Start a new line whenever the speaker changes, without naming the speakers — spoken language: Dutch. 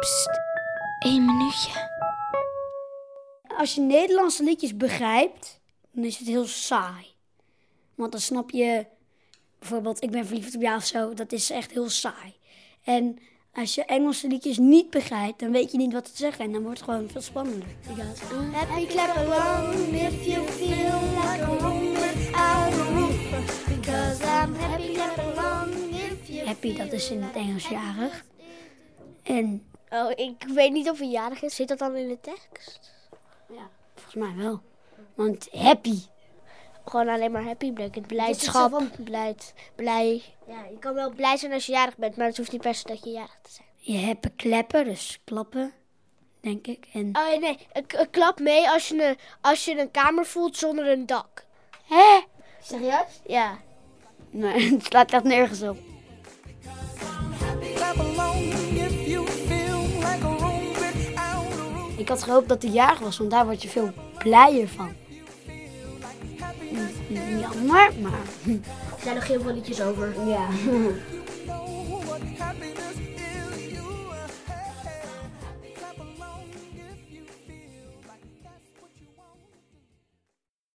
Pst, één minuutje.
Als je Nederlandse liedjes begrijpt, dan is het heel saai. Want dan snap je bijvoorbeeld Ik ben verliefd op jou of zo, dat is echt heel saai. En als je Engelse liedjes niet begrijpt, dan weet je niet wat te zeggen en dan wordt het gewoon veel spannender.
Happy clap along if you feel like a room without a roof. Because I'm happy clap along if you
Happy, dat is in het Engels jarig. En
Oh, ik weet niet of hij jarig is. Zit dat dan in de tekst?
volgens mij wel. Want happy.
Gewoon alleen maar happy betekent blijdschap. Blijd, blij. Ja, je kan wel blij zijn als je jarig bent, maar het hoeft niet per se dat je jarig te zijn.
Je hebt een klepper, dus klappen, denk ik. En
Oh nee, een, k- een klap mee als je, een, als je een kamer voelt zonder een dak.
hè?
Serieus? Ja.
Nee, het slaat echt nergens op.
Clap along if you feel like a room without a roof.
Ik had gehoopt dat hij jarig was, want daar word je veel blijer van. Jammer, maar
Er zijn nog heel veel liedjes over.
ja.
No